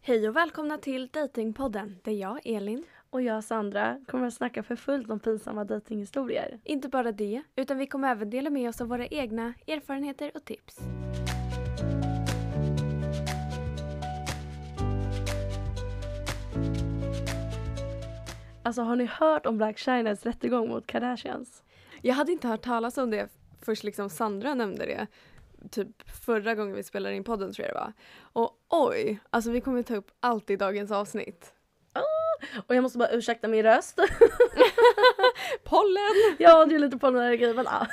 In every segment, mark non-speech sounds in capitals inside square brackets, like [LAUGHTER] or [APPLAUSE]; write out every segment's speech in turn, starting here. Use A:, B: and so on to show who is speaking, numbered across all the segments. A: Hej och välkomna till Datingpodden. Det är jag, Elin.
B: Och jag, Sandra, kommer att snacka för fullt om pinsamma dejtinghistorier.
A: Inte bara det, utan vi kommer även dela med oss av våra egna erfarenheter och tips.
B: Alltså har ni hört om Black Chinas rättegång mot Kardashians?
A: Jag hade inte hört talas om det först liksom Sandra nämnde det. Typ förra gången vi spelade in podden tror jag det var. Och oj, alltså vi kommer ta upp allt i dagens avsnitt.
B: Och jag måste bara ursäkta min röst.
A: Pollen!
B: [LAUGHS] ja, det är lite pollenallergi men ja.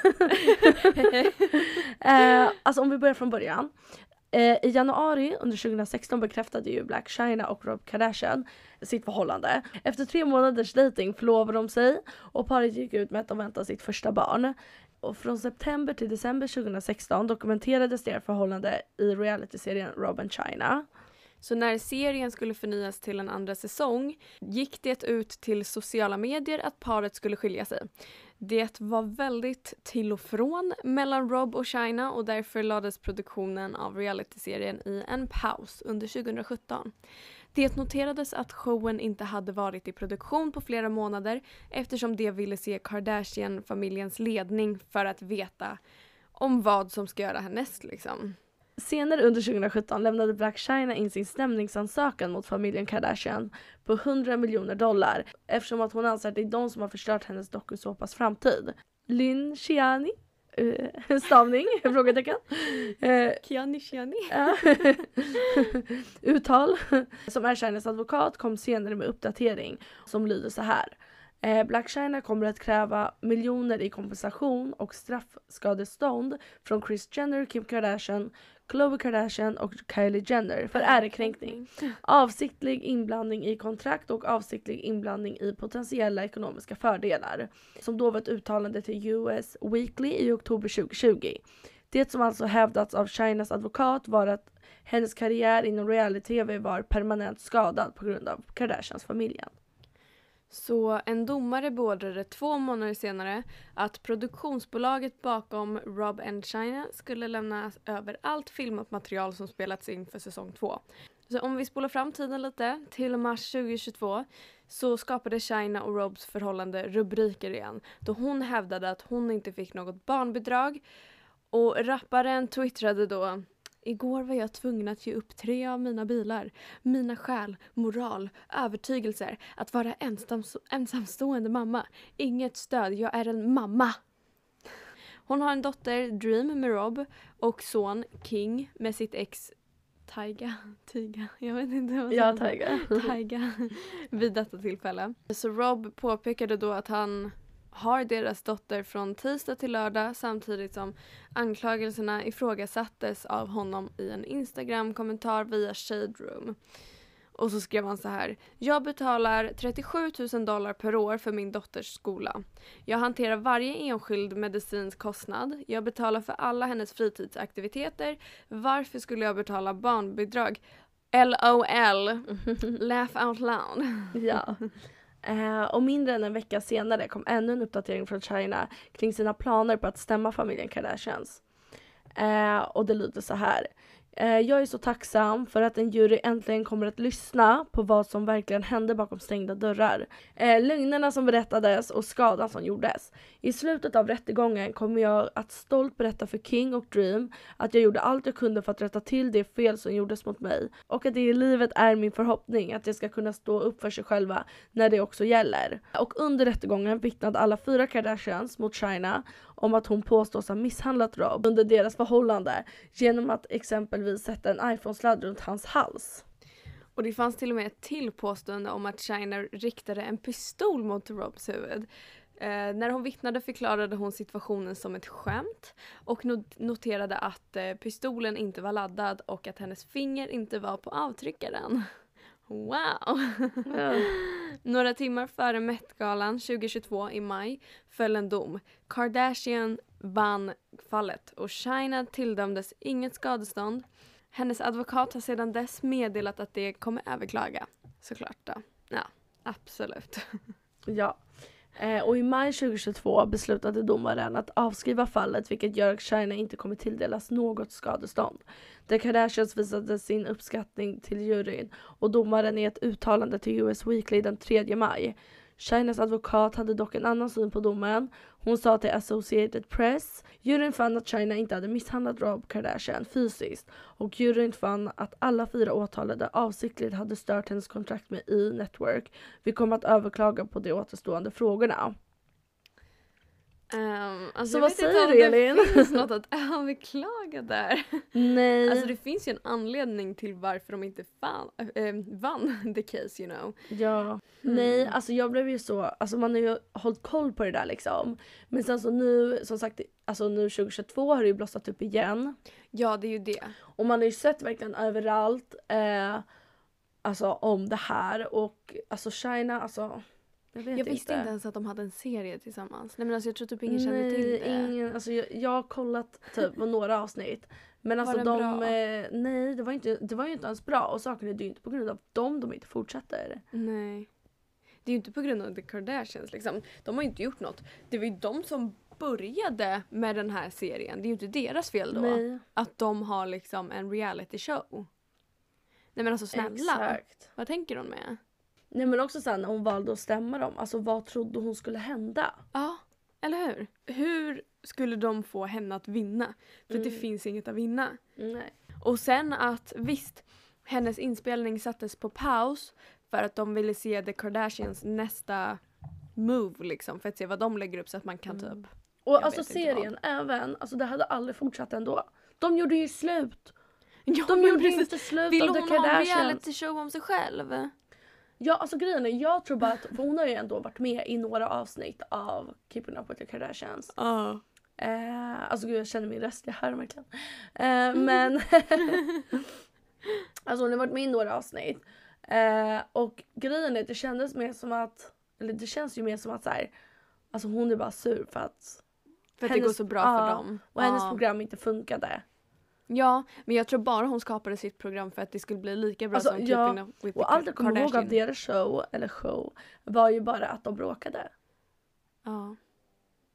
B: [LAUGHS] eh, alltså om vi börjar från början. Eh, I januari under 2016 bekräftade ju Black China och Rob Kardashian sitt förhållande. Efter tre månaders dejting förlovade de sig och paret gick ut med att de väntar sitt första barn. Och från september till december 2016 dokumenterades deras förhållande i realityserien Rob and China.
A: Så när serien skulle förnyas till en andra säsong gick det ut till sociala medier att paret skulle skilja sig. Det var väldigt till och från mellan Rob och China och därför lades produktionen av realityserien i en paus under 2017. Det noterades att showen inte hade varit i produktion på flera månader eftersom de ville se Kardashian-familjens ledning för att veta om vad som ska göra härnäst liksom.
B: Senare under 2017 lämnade Black China in sin stämningsansökan mot familjen Kardashian på 100 miljoner dollar eftersom att hon anser att det är de som har förstört hennes dokusåpas framtid. Lynn Chiani, eh, [LAUGHS] stavning, frågetecken, eh,
A: Kiani, kiani.
B: Ja. [LAUGHS] Uttal. Som är Chinas advokat kom senare med uppdatering som lyder så här. Eh, Black China kommer att kräva miljoner i kompensation och straffskadestånd från Kris Jenner, Kim Kardashian, Khloe Kardashian och Kylie Jenner för ärekränkning, avsiktlig inblandning i kontrakt och avsiktlig inblandning i potentiella ekonomiska fördelar. Som då var ett uttalande till US Weekly i oktober 2020. Det som alltså hävdats av Chinas advokat var att hennes karriär inom reality-tv var permanent skadad på grund av Kardashians familjen.
A: Så en domare beordrade två månader senare att produktionsbolaget bakom Rob and China skulle lämna över allt filmat material som spelats in för säsong två. Så om vi spolar fram tiden lite till mars 2022 så skapade China och Robs förhållande rubriker igen då hon hävdade att hon inte fick något barnbidrag och rapparen twittrade då Igår var jag tvungen att ge upp tre av mina bilar. Mina skäl, moral, övertygelser, att vara ensam, ensamstående mamma. Inget stöd, jag är en mamma. Hon har en dotter, Dream, med Rob och son, King, med sitt ex Taiga. Tiga, jag vet inte vad
B: Ja,
A: han heter.
B: Tiger.
A: Taiga [LAUGHS] vid detta tillfälle. Så Rob påpekade då att han har deras dotter från tisdag till lördag samtidigt som anklagelserna ifrågasattes av honom i en Instagram-kommentar via Shade Room. Och så skrev han så här. Jag betalar 37 000 dollar per år för min dotters skola. Jag hanterar varje enskild medicinsk kostnad. Jag betalar för alla hennes fritidsaktiviteter. Varför skulle jag betala barnbidrag? LOL. Laugh out loud.
B: [LAUGHS] Ja. Eh, och mindre än en vecka senare kom ännu en uppdatering från China kring sina planer på att stämma familjen Kardashians. Eh, och det lyder så här. Eh, jag är så tacksam för att en jury äntligen kommer att lyssna på vad som verkligen hände bakom stängda dörrar. Eh, lögnerna som berättades och skadan som gjordes. I slutet av rättegången kommer jag att stolt berätta för King och Dream att jag gjorde allt jag kunde för att rätta till det fel som gjordes mot mig och att det i livet är min förhoppning att de ska kunna stå upp för sig själva när det också gäller. Och under rättegången vittnade alla fyra Kardashians mot China om att hon påstås ha misshandlat Rob under deras förhållande genom att exempelvis sätta en iPhone-sladd runt hans hals.
A: Och det fanns till och med ett till påstående om att China riktade en pistol mot Robs huvud. Eh, när hon vittnade förklarade hon situationen som ett skämt och no- noterade att eh, pistolen inte var laddad och att hennes finger inte var på avtryckaren. Wow! [LAUGHS] Några timmar före Met-galan 2022 i maj föll en dom. Kardashian vann fallet och China tilldömdes inget skadestånd. Hennes advokat har sedan dess meddelat att det kommer överklaga. Såklart då. Ja, absolut.
B: Ja. Eh, och i maj 2022 beslutade domaren att avskriva fallet vilket gör att China inte kommer tilldelas något skadestånd. The Kardashians visade sin uppskattning till juryn och domaren i ett uttalande till US Weekly den 3 maj. Chinas advokat hade dock en annan syn på domen. Hon sa till Associated Press Juryn fann att China inte hade misshandlat Rob Kardashian fysiskt och juryn fann att alla fyra åtalade avsiktligt hade stört hennes kontrakt med E-Network. Vi kommer att överklaga på de återstående frågorna.
A: [LAUGHS] Ehm, alltså
B: Så
A: jag
B: vad
A: vet
B: säger
A: inte om
B: du,
A: det
B: Elin?
A: [LAUGHS] finns något att överklaga där.
B: Nej.
A: Alltså det finns ju en anledning till varför de inte fan, eh, vann the case you know.
B: Ja. Nej, alltså jag blev ju så, alltså man har ju hållit koll på det där liksom. Men sen så nu, som sagt, alltså nu 2022 har det ju blossat upp igen.
A: Ja det är ju det.
B: Och man har ju sett verkligen överallt, eh, alltså om det här och alltså China, alltså. Jag, vet
A: Jag visste inte ens att de hade en serie tillsammans. Nej men alltså jag tror typ ingen kände
B: Nej,
A: till det.
B: Ingen, alltså jag, jag har kollat typ på några avsnitt. Men
A: Var
B: alltså
A: den
B: de,
A: bra?
B: eh, nej det var, inte, det var ju inte ens bra och saken är det ju inte på grund av dem de inte fortsätter.
A: Nej. Det är ju inte på grund av the Kardashians liksom. De har ju inte gjort något. Det var ju de som började med den här serien. Det är ju inte deras fel då.
B: Nej,
A: Att de har liksom en reality show. Nej men alltså snälla.
B: exakt.
A: Vad tänker de med?
B: Nej men också sen när hon valde att stämma dem, alltså vad trodde hon skulle hända?
A: Ja, eller hur? Hur skulle de få henne att vinna? För det
B: Mm.
A: finns inget att vinna.
B: Nej.
A: Och sen att visst, hennes inspelning sattes på paus för att de ville se The Kardashians nästa move liksom för att se vad de lägger upp så att man kan
B: Mm.
A: typ.
B: Och
A: Jag
B: alltså
A: vet inte
B: serien även, alltså det hade aldrig fortsatt ändå. De gjorde ju slut!
A: Ja,
B: De
A: men
B: gjorde ju
A: precis.
B: inte slut
A: Vill
B: av The
A: hon ha en
B: Kardashians.
A: reality show om sig själv?
B: Ja alltså grejen är, jag tror bara att, för hon har ju ändå varit med i några avsnitt av Keeping Up With The Kardashians.
A: Ja.
B: Eh, alltså gud jag känner min röst, jag hör den verkligen. Eh,
A: Mm. [LAUGHS]
B: men... alltså hon har varit med i några avsnitt. Eh, och grejen är att det kändes mer som att, eller det känns ju mer som att så här, alltså hon är bara sur för att,
A: För att det
B: Hennes-
A: går så bra
B: ja,
A: för dem.
B: och hennes
A: Ja.
B: program inte funkade.
A: Ja, men jag tror bara hon skapade sitt program för att det skulle bli lika bra
B: Alltså,
A: som
B: ja.
A: Keeping Up With The
B: Och allt jag kommer ihåg av
A: Kardashians.
B: deras show, eller show, var ju bara att de bråkade.
A: Ja.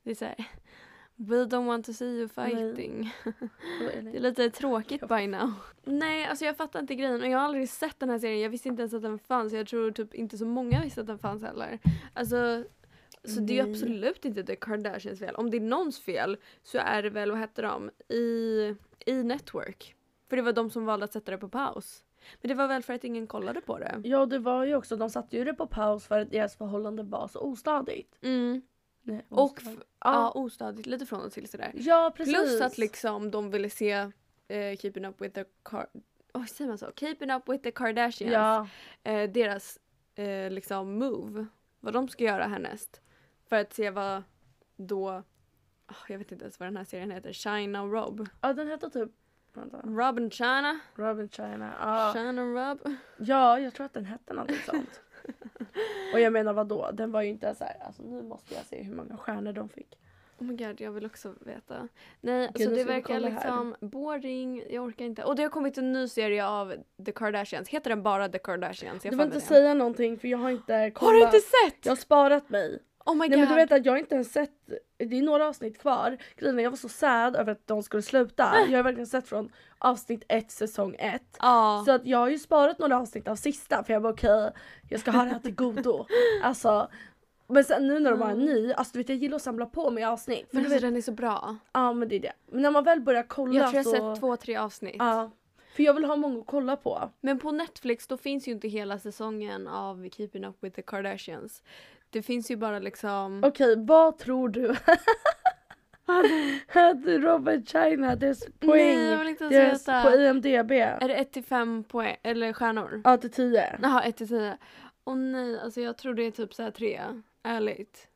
A: Det är såhär. [LAUGHS] We don't want to see you
B: Nej.
A: fighting.
B: Så är
A: Det är
B: det.
A: lite tråkigt
B: Jag
A: by now. Nej, alltså jag fattar inte grejen och jag har aldrig sett den här serien. Jag visste inte ens att den fanns. Jag tror typ inte så många visste att den fanns heller. Alltså, så det är ju
B: Nej.
A: absolut inte The Kardashians fel. Om det är någons fel så är det väl, vad hette de, i, i Network. För det var de som valde att sätta det på paus. Men det var väl för att ingen kollade på det.
B: Ja det var ju också, de satte ju det på paus för att deras förhållande var så ostadigt.
A: Mm.
B: Nej,
A: Och f-
B: ostadigt.
A: ja,
B: ja.
A: ostadigt lite från och till sådär.
B: ja precis.
A: Plus att liksom de ville se eh, Keeping Up With The Car... Oj, säger man så? Keeping Up With The Kardashians.
B: Ja.
A: eh, deras eh, liksom move. Vad de ska göra härnäst. För att se vad då, ah, jag vet inte ens vad den här serien heter, China och Rob.
B: Ja den hette typ vänta,
A: Rob and China.
B: Robin China. Ja.
A: China och Rob.
B: ja jag tror att den hette någonting
A: [LAUGHS]
B: sånt. Och jag menar vadå? Den var ju inte så här, alltså nu måste jag se hur många stjärnor de fick.
A: Oh my god, jag vill också veta. Nej,
B: nu
A: så det
B: ska vi
A: verkar
B: kolla här.
A: liksom boring, jag orkar inte. Och det har kommit en ny serie av The Kardashians. Heter den bara The Kardashians? Jag
B: Du vill
A: fattar
B: inte säga någonting för jag har inte kollat.
A: Har du inte sett?
B: Jag har sparat mig.
A: Oh my
B: Nej
A: god.
B: men du vet att jag inte ens sett, det är några avsnitt kvar. Grejen är, jag var så sad över att de
A: [GASPS]
B: skulle sluta. Jag har verkligen sett från avsnitt 1 säsong 1.
A: Ja.
B: Så att jag har ju sparat några avsnitt av sista för jag bara okej, jag ska ha det här
A: [LAUGHS]
B: till godo. Alltså, men sen nu när de har en
A: Mm.
B: ny, alltså du vet jag gillar att samla på mig avsnitt. För
A: Men
B: du
A: alltså
B: vet,
A: den är så bra.
B: ja men det är det. Men när man väl börjar kolla
A: Jag tror jag
B: så...
A: har sett två, tre avsnitt.
B: Ja. För jag vill ha många att kolla på.
A: Men på Netflix då finns ju inte hela säsongen av Keeping Up With The Kardashians. Det finns ju bara liksom...
B: Okej, vad tror du? [LAUGHS] Hade Robert China deras poäng?
A: Nej, jag vill inte ens
B: deras på
A: veta.
B: IMDB?
A: Är det 1 till 5 poäng, eller stjärnor?
B: Ja till 10.
A: Jaha, 1 till 10. Åh nej, alltså jag tror det är typ såhär 3. Ärligt.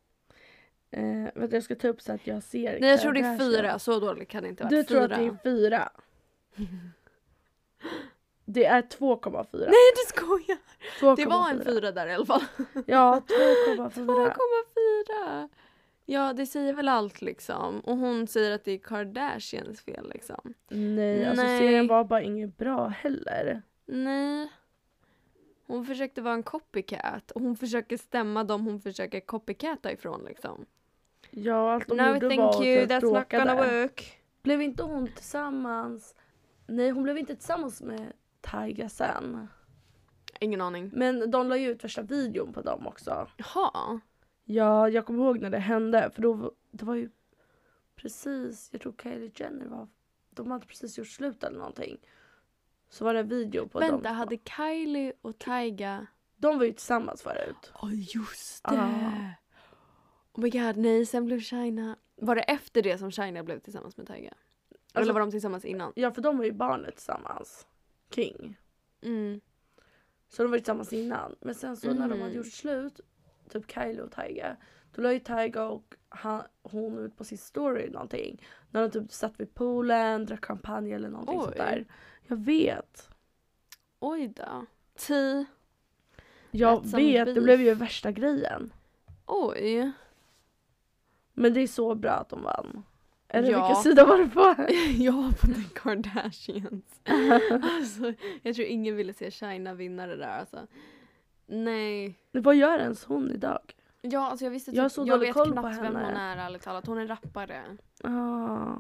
B: Eh, vänta jag ska ta upp så att jag ser.
A: Nej, jag tror det är
B: Kardashian.
A: 4. Så dåligt kan det inte vara.
B: Du tror att det är
A: Fyra.
B: fyra?
A: [LAUGHS]
B: Det är 2,4.
A: Nej, du skojar!
B: 2,4.
A: Det var en 4 där i alla fall. [LAUGHS]
B: Ja, 2,4.
A: 2,4! Ja, det säger väl allt liksom. Och hon säger att det är Kardashians fel liksom.
B: Nej, alltså
A: Nej.
B: serien var bara ingen bra heller.
A: Nej. Hon försökte vara en copycat och hon försöker stämma dem hon försöker copycatta ifrån liksom.
B: Ja, allt de
A: no
B: gjorde var
A: thank
B: att
A: you,
B: typ
A: that's not gonna
B: bråkade.
A: work.
B: Blev inte hon tillsammans? Nej, hon blev inte tillsammans med Tyga sen.
A: Ingen aning.
B: Men de la ju ut värsta videon på dem också.
A: Jaha.
B: Ja, jag kommer ihåg när det hände. För då, v- det var ju precis, jag tror Kylie Jenner var, de hade precis gjort slut eller någonting. Så var det en video på dem.
A: Vänta,
B: två.
A: hade Kylie och Tyga...
B: De var ju tillsammans förut.
A: Ja, just
B: Ja.
A: Oh my god, nej, sen blev China... Var det efter det som China blev tillsammans med Tyga? Eller
B: Alltså-
A: var de tillsammans innan?
B: Ja, för de var ju barnet tillsammans. King.
A: Mm.
B: Så de var ju tillsammans innan. Men sen så när de hade
A: Mhm.
B: gjort slut, typ Kylie och Tyga. Då la ju Tyga och han, hon ut på sin story någonting. När de typ satt vid poolen, drack champagne eller någonting
A: Oj.
B: sånt där. Jag vet.
A: Oj då. Ti.
B: Jag
A: Lät som
B: vet, det
A: beef.
B: blev ju värsta grejen.
A: Oj.
B: Men det är så bra att de vann. Eller
A: Ja.
B: vilken sida var det på? [LAUGHS]
A: [LAUGHS] Jag var på The Kardashians. alltså, jag tror ingen ville se China vinna det där alltså. Nej.
B: Vad gör ens hon idag?
A: Ja, alltså jag visste
B: Jag har så
A: jag
B: dålig
A: vet
B: koll på
A: knappt vem
B: henne.
A: hon är ärligt talat. Hon är rappare.
B: Ah.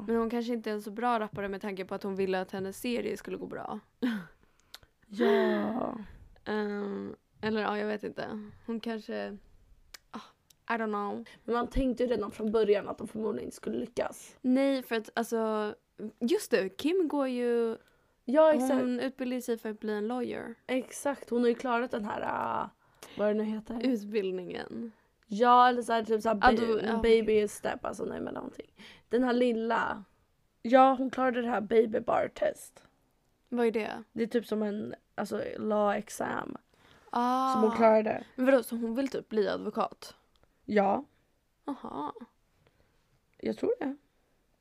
A: Men hon kanske inte är en så bra rappare med tanke på att hon ville att hennes serie skulle gå bra.
B: Ja.
A: Ehm, eller ja, jag vet inte. Hon kanske... ah, I don't know.
B: Men man tänkte ju redan från början att de förmodligen inte skulle lyckas.
A: Nej, för att alltså... Just det, Kim går ju...
B: Ja exakt.
A: Hon utbildar sig för att bli en lawyer.
B: Exakt, hon har ju klarat den här, ah, vad det nu heter.
A: Utbildningen.
B: Ja eller såhär typ såhär
A: Ja,
B: ba-
A: då- ja.
B: baby step, alltså nej men någonting. Den här lilla. Ja hon klarade det här baby bar test.
A: Vad är det?
B: Det är typ som en alltså, law exam
A: Ah.
B: som hon klarade.
A: Men vadå, så hon vill typ bli advokat?
B: Ja,
A: Jaha.
B: jag tror det.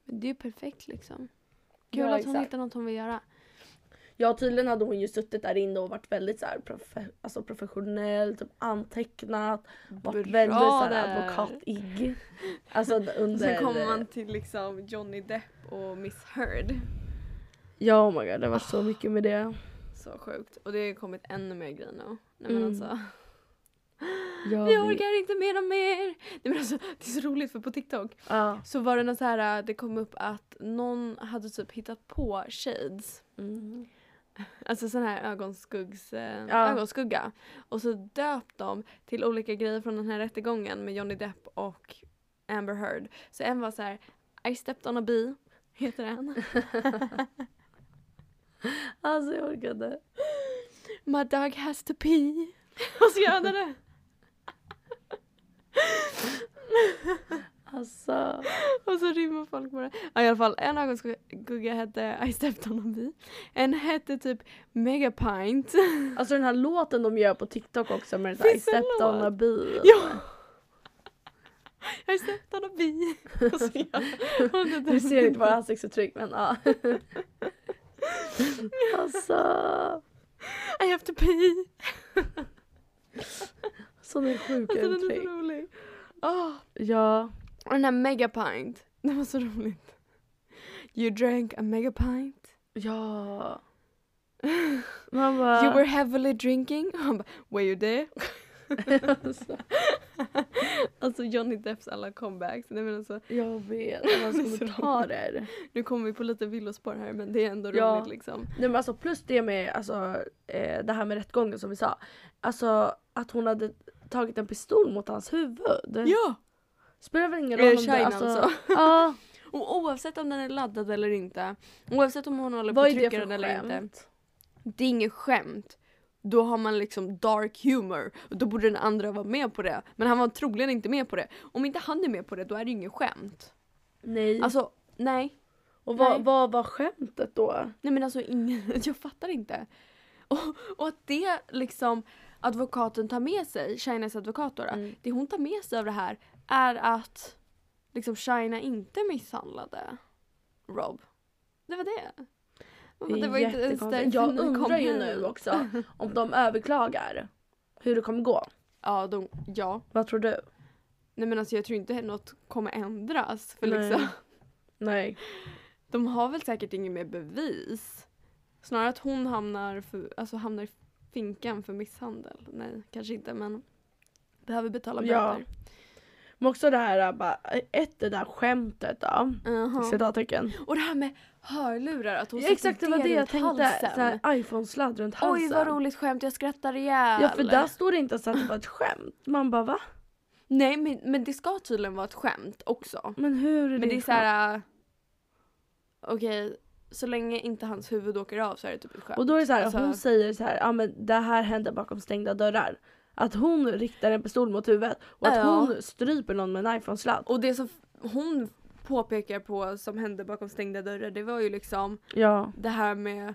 A: Men det är ju perfekt liksom. Kul
B: Ja,
A: att hon
B: exakt.
A: hittar något hon vill göra.
B: Ja tydligen hade hon ju suttit där inne och varit väldigt så här profe- alltså professionell, typ antecknat, varit väldigt så här advokatig. Alltså under...
A: Sen kommer man till liksom Johnny Depp och Miss Heard.
B: Ja oh my god det var så mycket med det.
A: Så sjukt. Och det har kommit ännu mer grejer nu. Nej men
B: Mm.
A: alltså.
B: Ja,
A: Vi orkar inte mer och mer. Nej men alltså det är så roligt för på TikTok
B: Ja.
A: så var det något så här, äh, det kom upp att någon hade typ hittat på shades.
B: Mm.
A: Alltså sån här ögonskuggs, eh,
B: Ja.
A: ögonskugga. Och så döpt dem till olika grejer från den här rättegången med Johnny Depp och Amber Heard. Så en var så här, I stepped on a bee, heter [LAUGHS] den.
B: Alltså jag orkade.
A: My dog has to pee. [LAUGHS] Och så gör han det.
B: Alltså.
A: [LAUGHS] Och så rimmar folk på det. Ja, I alla fall, en ögonskugga hette I stepped on a bee. En hette typ Megapint. [LAUGHS]
B: alltså den här låten de gör på TikTok också med såhär
A: Finns det en
B: Stepped on
A: låt?
B: a bee.
A: ja! I stepped on a [LAUGHS] bee. Och så gör hon det [LAUGHS] där.
B: Du ser inte våra ansiktsuttryck men ja. alltså.
A: I have to pee.
B: Sådana sjuka
A: Alltså den är
B: uttryck.
A: så rolig. Åh,
B: Ja.
A: Och den här megapint. [LAUGHS] Det var så roligt. You drank a megapint.
B: Ja. Man bara...
A: You were heavily drinking. [LAUGHS] Han bara, were you there?
B: alltså,
A: Alltså Johnny Depps alla comebacks. Nej, men alltså,
B: jag
A: [LAUGHS]
B: vet, hans
A: Det är så
B: kommentarer.
A: nu kommer vi på lite villospår här men det är ändå
B: Ja.
A: roligt liksom.
B: Nej, men alltså, plus det med alltså, eh, det här med rättgången som vi sa. Alltså att hon hade tagit en pistol mot hans huvud.
A: Ja!
B: Spelar väl ingen
A: Är det
B: roll
A: Shine
B: [LAUGHS]
A: alltså?
B: Ja,
A: Och oavsett om den är laddad eller inte. Oavsett om hon håller på
B: vad
A: att
B: är det
A: trycka
B: för
A: den eller inte.
B: skämt?
A: Det är inget skämt. Då har man liksom dark humor. Och då borde den andra vara med på det. Men han var troligen inte med på det. Om inte han är med på det då är det inget skämt.
B: Nej.
A: Alltså, nej.
B: och
A: nej.
B: vad, vad var skämtet då?
A: Nej men alltså ingen, [LAUGHS] jag fattar inte. Och, och att det liksom advokaten tar med sig, Shinas advokat då,
B: Mm.
A: det hon tar med sig av det här är att liksom Shina inte misshandlade Rob. Det var det.
B: Det
A: det
B: är
A: var inte ens
B: jättekonstigt.
A: därför
B: Jag
A: ni kom
B: undrar ju
A: hit.
B: nu också om de överklagar hur det kommer gå.
A: Ja, de, ja.
B: Vad tror du?
A: Nej men alltså jag tror inte något kommer ändras. För
B: Nej.
A: liksom, [LAUGHS]
B: Nej.
A: de har väl säkert inget mer bevis. Snarare att hon hamnar, för, alltså hamnar i finkan för misshandel. Nej, kanske inte men behöver betala
B: Ja.
A: böter.
B: Men också det här, äh, bara, ett det där skämtet då.
A: Jaha.
B: Citattecken.
A: Och det här med hörlurar, att hon
B: Ja,
A: sitter
B: exakt det var det jag
A: runt
B: tänkte.
A: halsen.
B: Så här, Iphone-sladd runt halsen.
A: Oj vad roligt skämt, jag skrattar ihjäl.
B: Ja för där står det inte ens att det var ett skämt. Man bara va?
A: Nej men, men det ska tydligen vara ett skämt också.
B: Men hur är
A: Men det är
B: ett
A: så
B: skämt?
A: här. äh, okej, så länge inte hans huvud åker av så är det typ ett skämt.
B: Och då är det så här,
A: Alltså-
B: hon säger så här, ja men det här händer bakom stängda dörrar. Att hon riktar en pistol mot huvudet och att
A: Ja.
B: hon stryper någon med en iPhone-sladd.
A: Och det som f- hon påpekar på som hände bakom stängda dörrar det var ju liksom
B: Ja.
A: det här med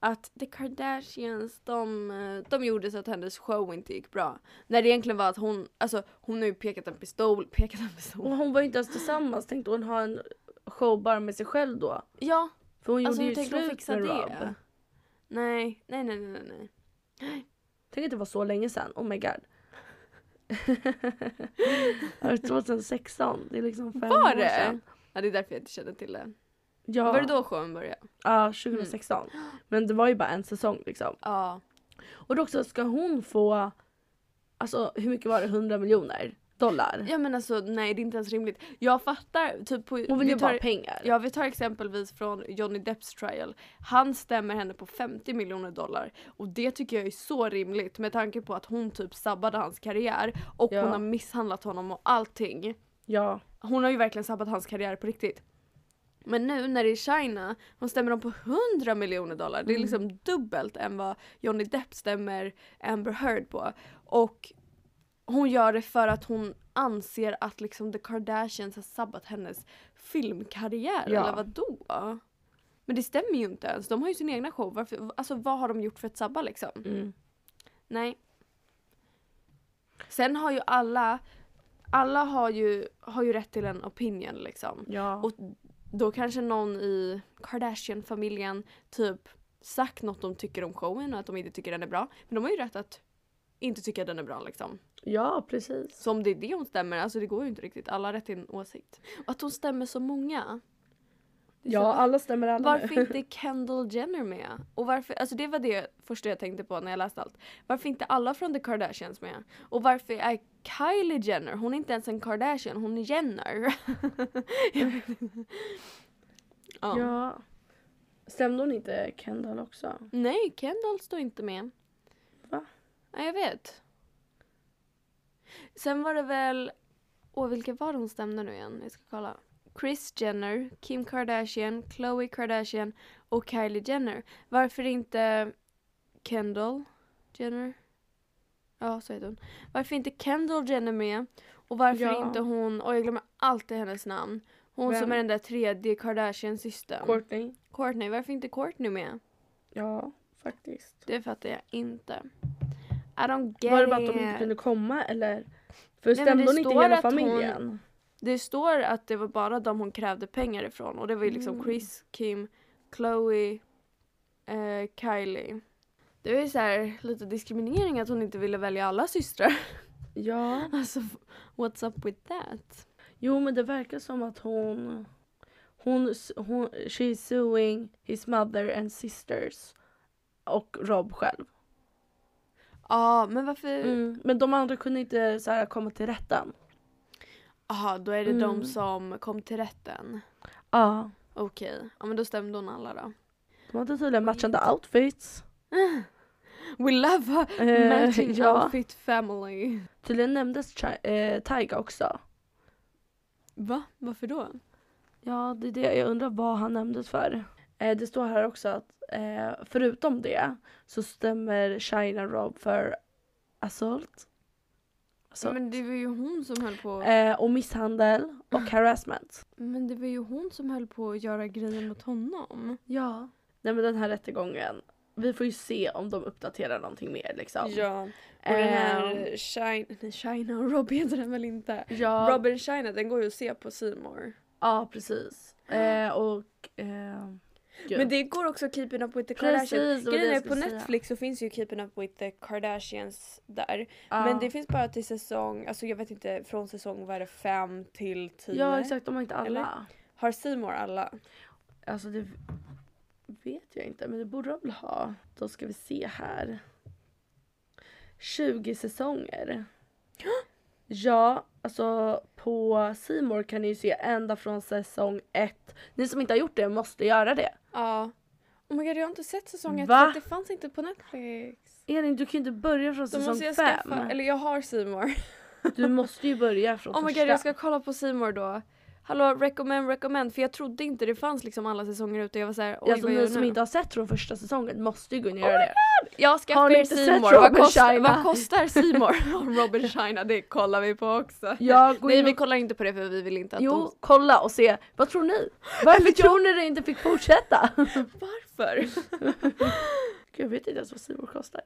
A: att the Kardashians de, eh, de gjorde så att hennes show inte gick bra. När det egentligen var att hon, alltså hon har ju pekat en pistol, [LAUGHS] pekat en
B: Och
A: pistol.
B: hon var ju inte ens tillsammans, tänkte hon ha en show bara med sig själv då?
A: Ja,
B: För hon
A: alltså hur
B: gjorde ju
A: tänkte hon
B: slut
A: fixa
B: med
A: det?
B: Rob.
A: Nej, nej, nej, nej, nej.
B: Tänk att det var så länge sedan, oh
A: [LAUGHS]
B: my god. Ja, 2016, det är liksom fem
A: Var
B: år
A: det?
B: sedan.
A: Ja, det är därför jag inte kände till det.
B: Ja.
A: Var det då showen började?
B: Ja, 2016. Men det var ju bara en säsong liksom.
A: Ja.
B: Och då också, ska hon få, alltså hur mycket var det? 100 miljoner dollar?
A: Ja men alltså nej det är inte ens rimligt. Jag fattar typ på...
B: Hon vill
A: vi
B: ju
A: tar-
B: bara ha pengar.
A: Ja vi tar exempelvis från Johnny Depps trial. Han stämmer henne på 50 miljoner dollar och det tycker jag är så rimligt med tanke på att hon typ sabbade hans karriär och
B: Ja.
A: hon har misshandlat honom och allting.
B: Ja.
A: Hon har ju verkligen sabbat hans karriär på riktigt. Men nu när det är China, hon stämmer dem på 100 miljoner dollar. Det är
B: Mm.
A: liksom dubbelt än vad Johnny Depp stämmer Amber Heard på. Och hon gör det för att hon anser att liksom The Kardashians har sabbat hennes filmkarriär
B: Ja.
A: eller vadå? Men det stämmer ju inte ens. De har ju sin egna show. Varför, alltså vad har de gjort för att sabba liksom?
B: Mm.
A: Nej. Sen har ju alla, alla har ju, har ju rätt till en opinion liksom.
B: Ja.
A: Och då kanske någon i Kardashian-familjen typ sagt något de tycker om showen och att de inte tycker den är bra. Men de har ju rätt att inte tycka den är bra liksom.
B: ja, precis.
A: Så om det är det hon stämmer, alltså det går ju inte riktigt. Alla har rätt till en åsikt. Och att hon stämmer så många. Det är
B: Ja,
A: så-
B: alla stämmer alla
A: varför
B: nu.
A: inte är Kendall Jenner med? Och varför, alltså det var det första jag tänkte på när jag läste allt. Varför inte alla från The Kardashians med? Och varför är Kylie Jenner, hon är inte ens en Kardashian, hon är Jenner. [LAUGHS] Jag vet inte. ja.
B: [LAUGHS] Ja. Stämde hon inte Kendall också?
A: Nej, Kendall står inte med.
B: Va?
A: Nej, jag vet. Sen var det väl, åh vilka var det hon stämde nu igen? Jag ska kolla. Chris Jenner, Kim Kardashian, Khloe Kardashian och Kylie Jenner. Varför inte Kendall Jenner? Ja, så heter hon. Varför inte Kendall Jenner med? Och varför
B: Ja.
A: inte hon, och jag glömmer alltid hennes namn. Hon som
B: Vem?
A: är den där tredje Kardashian-systern.
B: Courtney?
A: Courtney, varför inte Courtney med?
B: Ja, faktiskt.
A: Det fattar jag inte. I don't get
B: Var det bara att de
A: it.
B: inte kunde komma eller? För
A: Nej, men
B: stämde
A: det
B: hon inte
A: står
B: hela
A: att hon-
B: familjen?
A: Det står att det var bara de hon krävde pengar ifrån och det var ju liksom
B: Mm.
A: Chris, Kim, Chloe, eh, Kylie. Det var ju så här lite diskriminering att hon inte ville välja alla systrar. [LAUGHS]
B: Ja.
A: Alltså what's up with that?
B: Jo men det verkar som att hon... Hon, hon she's suing his mother and sisters. Och Rob själv. Mm.
A: Ja men varför?
B: Men de andra kunde inte så här, komma till rätten.
A: Jaha då är det de
B: Mm.
A: som kom till rätten.
B: Ja.
A: Okej, ja men då stämde hon alla då.
B: De hade tydligen matchande outfits.
A: We love a
B: Eh,
A: matching
B: ja.
A: outfit family.
B: Tydligen nämndes Chi- eh, Tyga också.
A: Va? Varför då?
B: Ja, det är det jag undrar vad han nämndes för. Eh, det står här också att eh, förutom det så stämmer China Rob för assault. assault.
A: Men det var ju hon som höll på.
B: Eh, och misshandel
A: [CLEARS THROAT]
B: och harassment.
A: Men det var ju hon som höll på att göra grejer mot honom.
B: Ja. Nej men den här rättegången. Vi får ju se om de uppdaterar någonting mer liksom.
A: Och den
B: Ehm,
A: här Shine, nej, Shina och Rob heter den väl inte?
B: ja,
A: Robin Shina, den går ju att se på Seymour.
B: ja precis. Eh, och... Eh, gud.
A: Men det går också Keeping Up With The Kardashians.
B: precis, det var det
A: Grejen
B: jag
A: är på
B: skulle säga.
A: Netflix så finns ju Keeping Up With The Kardashians där.
B: Ja.
A: Men det finns bara till säsong, alltså jag vet inte, från säsong vad är det, fem till tio?
B: Ja exakt, de har inte alla.
A: Eller? Har Seymour alla?
B: Alltså det vet jag inte men det borde de väl ha. Då ska vi se här. 20 säsonger. Ja, alltså på Simor kan ni ju se ända från säsong ett. Ni som inte har gjort det måste göra det.
A: Ja. Oh my god, jag har inte sett säsong ett
B: Va?
A: för att det fanns inte på Netflix.
B: Elin, du kan ju inte börja från
A: Då
B: säsong
A: måste jag
B: fem.
A: skaffa, eller jag har C More.
B: Du måste ju börja från
A: [LAUGHS] Oh my
B: första.
A: god, jag ska kolla på C More då. Hallå, recommend, recommend. För jag trodde inte det fanns liksom alla säsonger ute. Jag var såhär, oj
B: alltså,
A: vad gör
B: ni
A: jag
B: som
A: nu?
B: inte har sett från första säsongen måste ju gå in och
A: Oh
B: göra
A: my
B: det.
A: Jag
B: Har
A: skaffar
B: ni
A: ju
B: inte
A: C
B: sett
A: More. Vad,
B: Robin
A: kostar-
B: China?
A: vad kostar C More? [LAUGHS] Och Robin China, det kollar vi på också.
B: Jag går
A: Nej
B: in
A: vi
B: och...
A: kollar Alltså, inte på det för vi vill inte att
B: Jo, kolla och se. Vad tror ni? Varför tror ni det inte fick fortsätta?
A: de... Varför?
B: Gud, jag vet inte ens vad Simor kostar.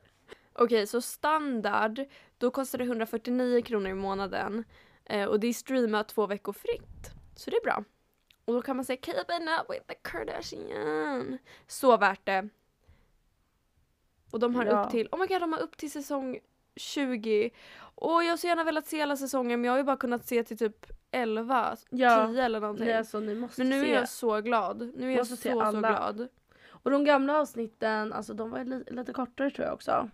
A: Okej, så standard, då kostar det 149 kronor i månaden. Eh, och det är streamat två veckor fritt. Så det är bra. Och då kan man säga keeping up with the Kardashian. Så värt det. Och de har
B: Ja.
A: upp till, oh my god, de har upp till säsong 20. Och jag har så gärna velat se alla säsonger men jag har ju bara kunnat se till typ 11,
B: Ja.
A: 10 eller någonting.
B: Nej, alltså, ni måste
A: men nu
B: se.
A: är jag så glad. Nu är jag så,
B: Måste se
A: så
B: alla.
A: glad.
B: Och de gamla avsnitten, alltså de var ju li- lite kortare tror jag också.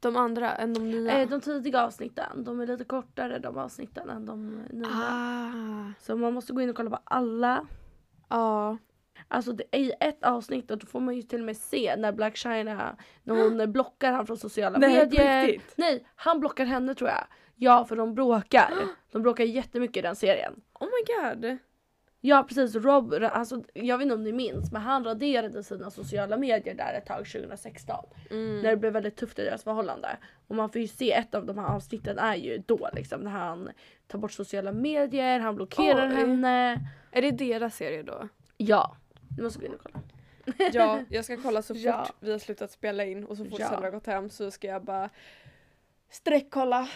A: De andra än de nya.
B: Eh, de tidiga avsnitten, de är lite kortare de avsnitten än de nya.
A: Ah.
B: Så man måste gå in och kolla på alla. Ah.
A: Ja.
B: Alltså det är ju ett avsnitt och då får man ju till och med se när Black China, när hon blockar han från sociala
A: Nej, på
B: medier.
A: riktigt?
B: Nej, han blockar henne tror jag. Ja, för de bråkar. De bråkar jättemycket i den serien.
A: Oh my god.
B: Ja precis, Rob, alltså, jag vet inte om ni minns men han raderade sina sociala medier där ett tag 2016.
A: Mm.
B: När det blev väldigt tufft i deras förhållande. Och man får ju se ett av de här avsnitten är ju då liksom när han tar bort sociala medier, han blockerar
A: Oj.
B: henne.
A: Är det deras serie då?
B: Ja, du måste gå in och kolla.
A: Ja, jag ska kolla så [LAUGHS] fort
B: Ja.
A: vi har slutat spela in och så fort
B: Ja.
A: Sandra har gått hem så ska jag bara streckkolla.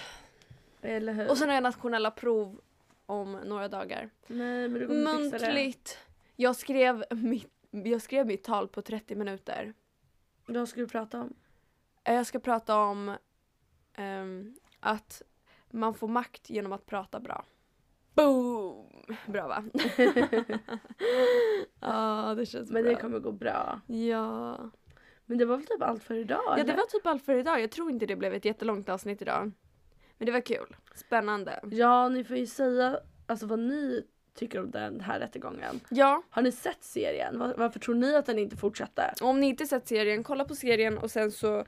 B: Eller hur?
A: Och sen har jag nationella prov om några dagar.
B: Nej men du kommer fixa det.
A: Muntligt. Jag skrev, mitt, jag skrev mitt tal på 30 minuter.
B: Vad ska du prata om?
A: Eh, Jag ska prata om ehm, att man får makt genom att prata bra. Boom! Bra [LAUGHS] va? Ja, det känns
B: Men
A: bra.
B: det kommer gå bra.
A: Ja.
B: Men det var väl typ allt för idag?
A: Ja det
B: eller?
A: var typ allt för idag. Jag tror inte det blev ett jättelångt avsnitt idag. Men det var kul. Spännande.
B: ja ni får ju säga alltså, vad ni tycker om den här rättegången.
A: Ja,
B: Har ni sett serien? Var- Varför tror ni att den inte fortsatte?
A: och om ni inte sett serien, kolla på serien och sen så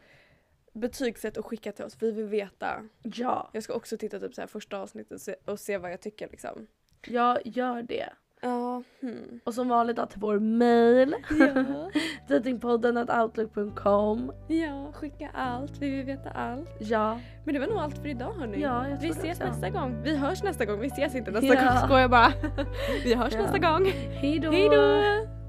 A: betygsätt och skicka till oss. Vi vill veta.
B: Ja,
A: Jag ska också titta typ så här första avsnittet och se, och se vad jag tycker liksom.
B: jag gör det.
A: Ja. Hmm.
B: Och som vanligt att vår mail,
A: Ja.
B: datingpodden outlook.com.
A: [LAUGHS] ja, skicka allt. Vi vill veta allt.
B: Ja,
A: Men det var nog allt för idag hörni.
B: ja jag tror
A: Vi
B: det
A: ses
B: också.
A: nästa gång. Vi hörs nästa gång. Vi ses inte nästa
B: Ja.
A: gång. Skojar bara. [LAUGHS] Vi hörs
B: Ja.
A: nästa gång.
B: Hej då!
A: Hej då!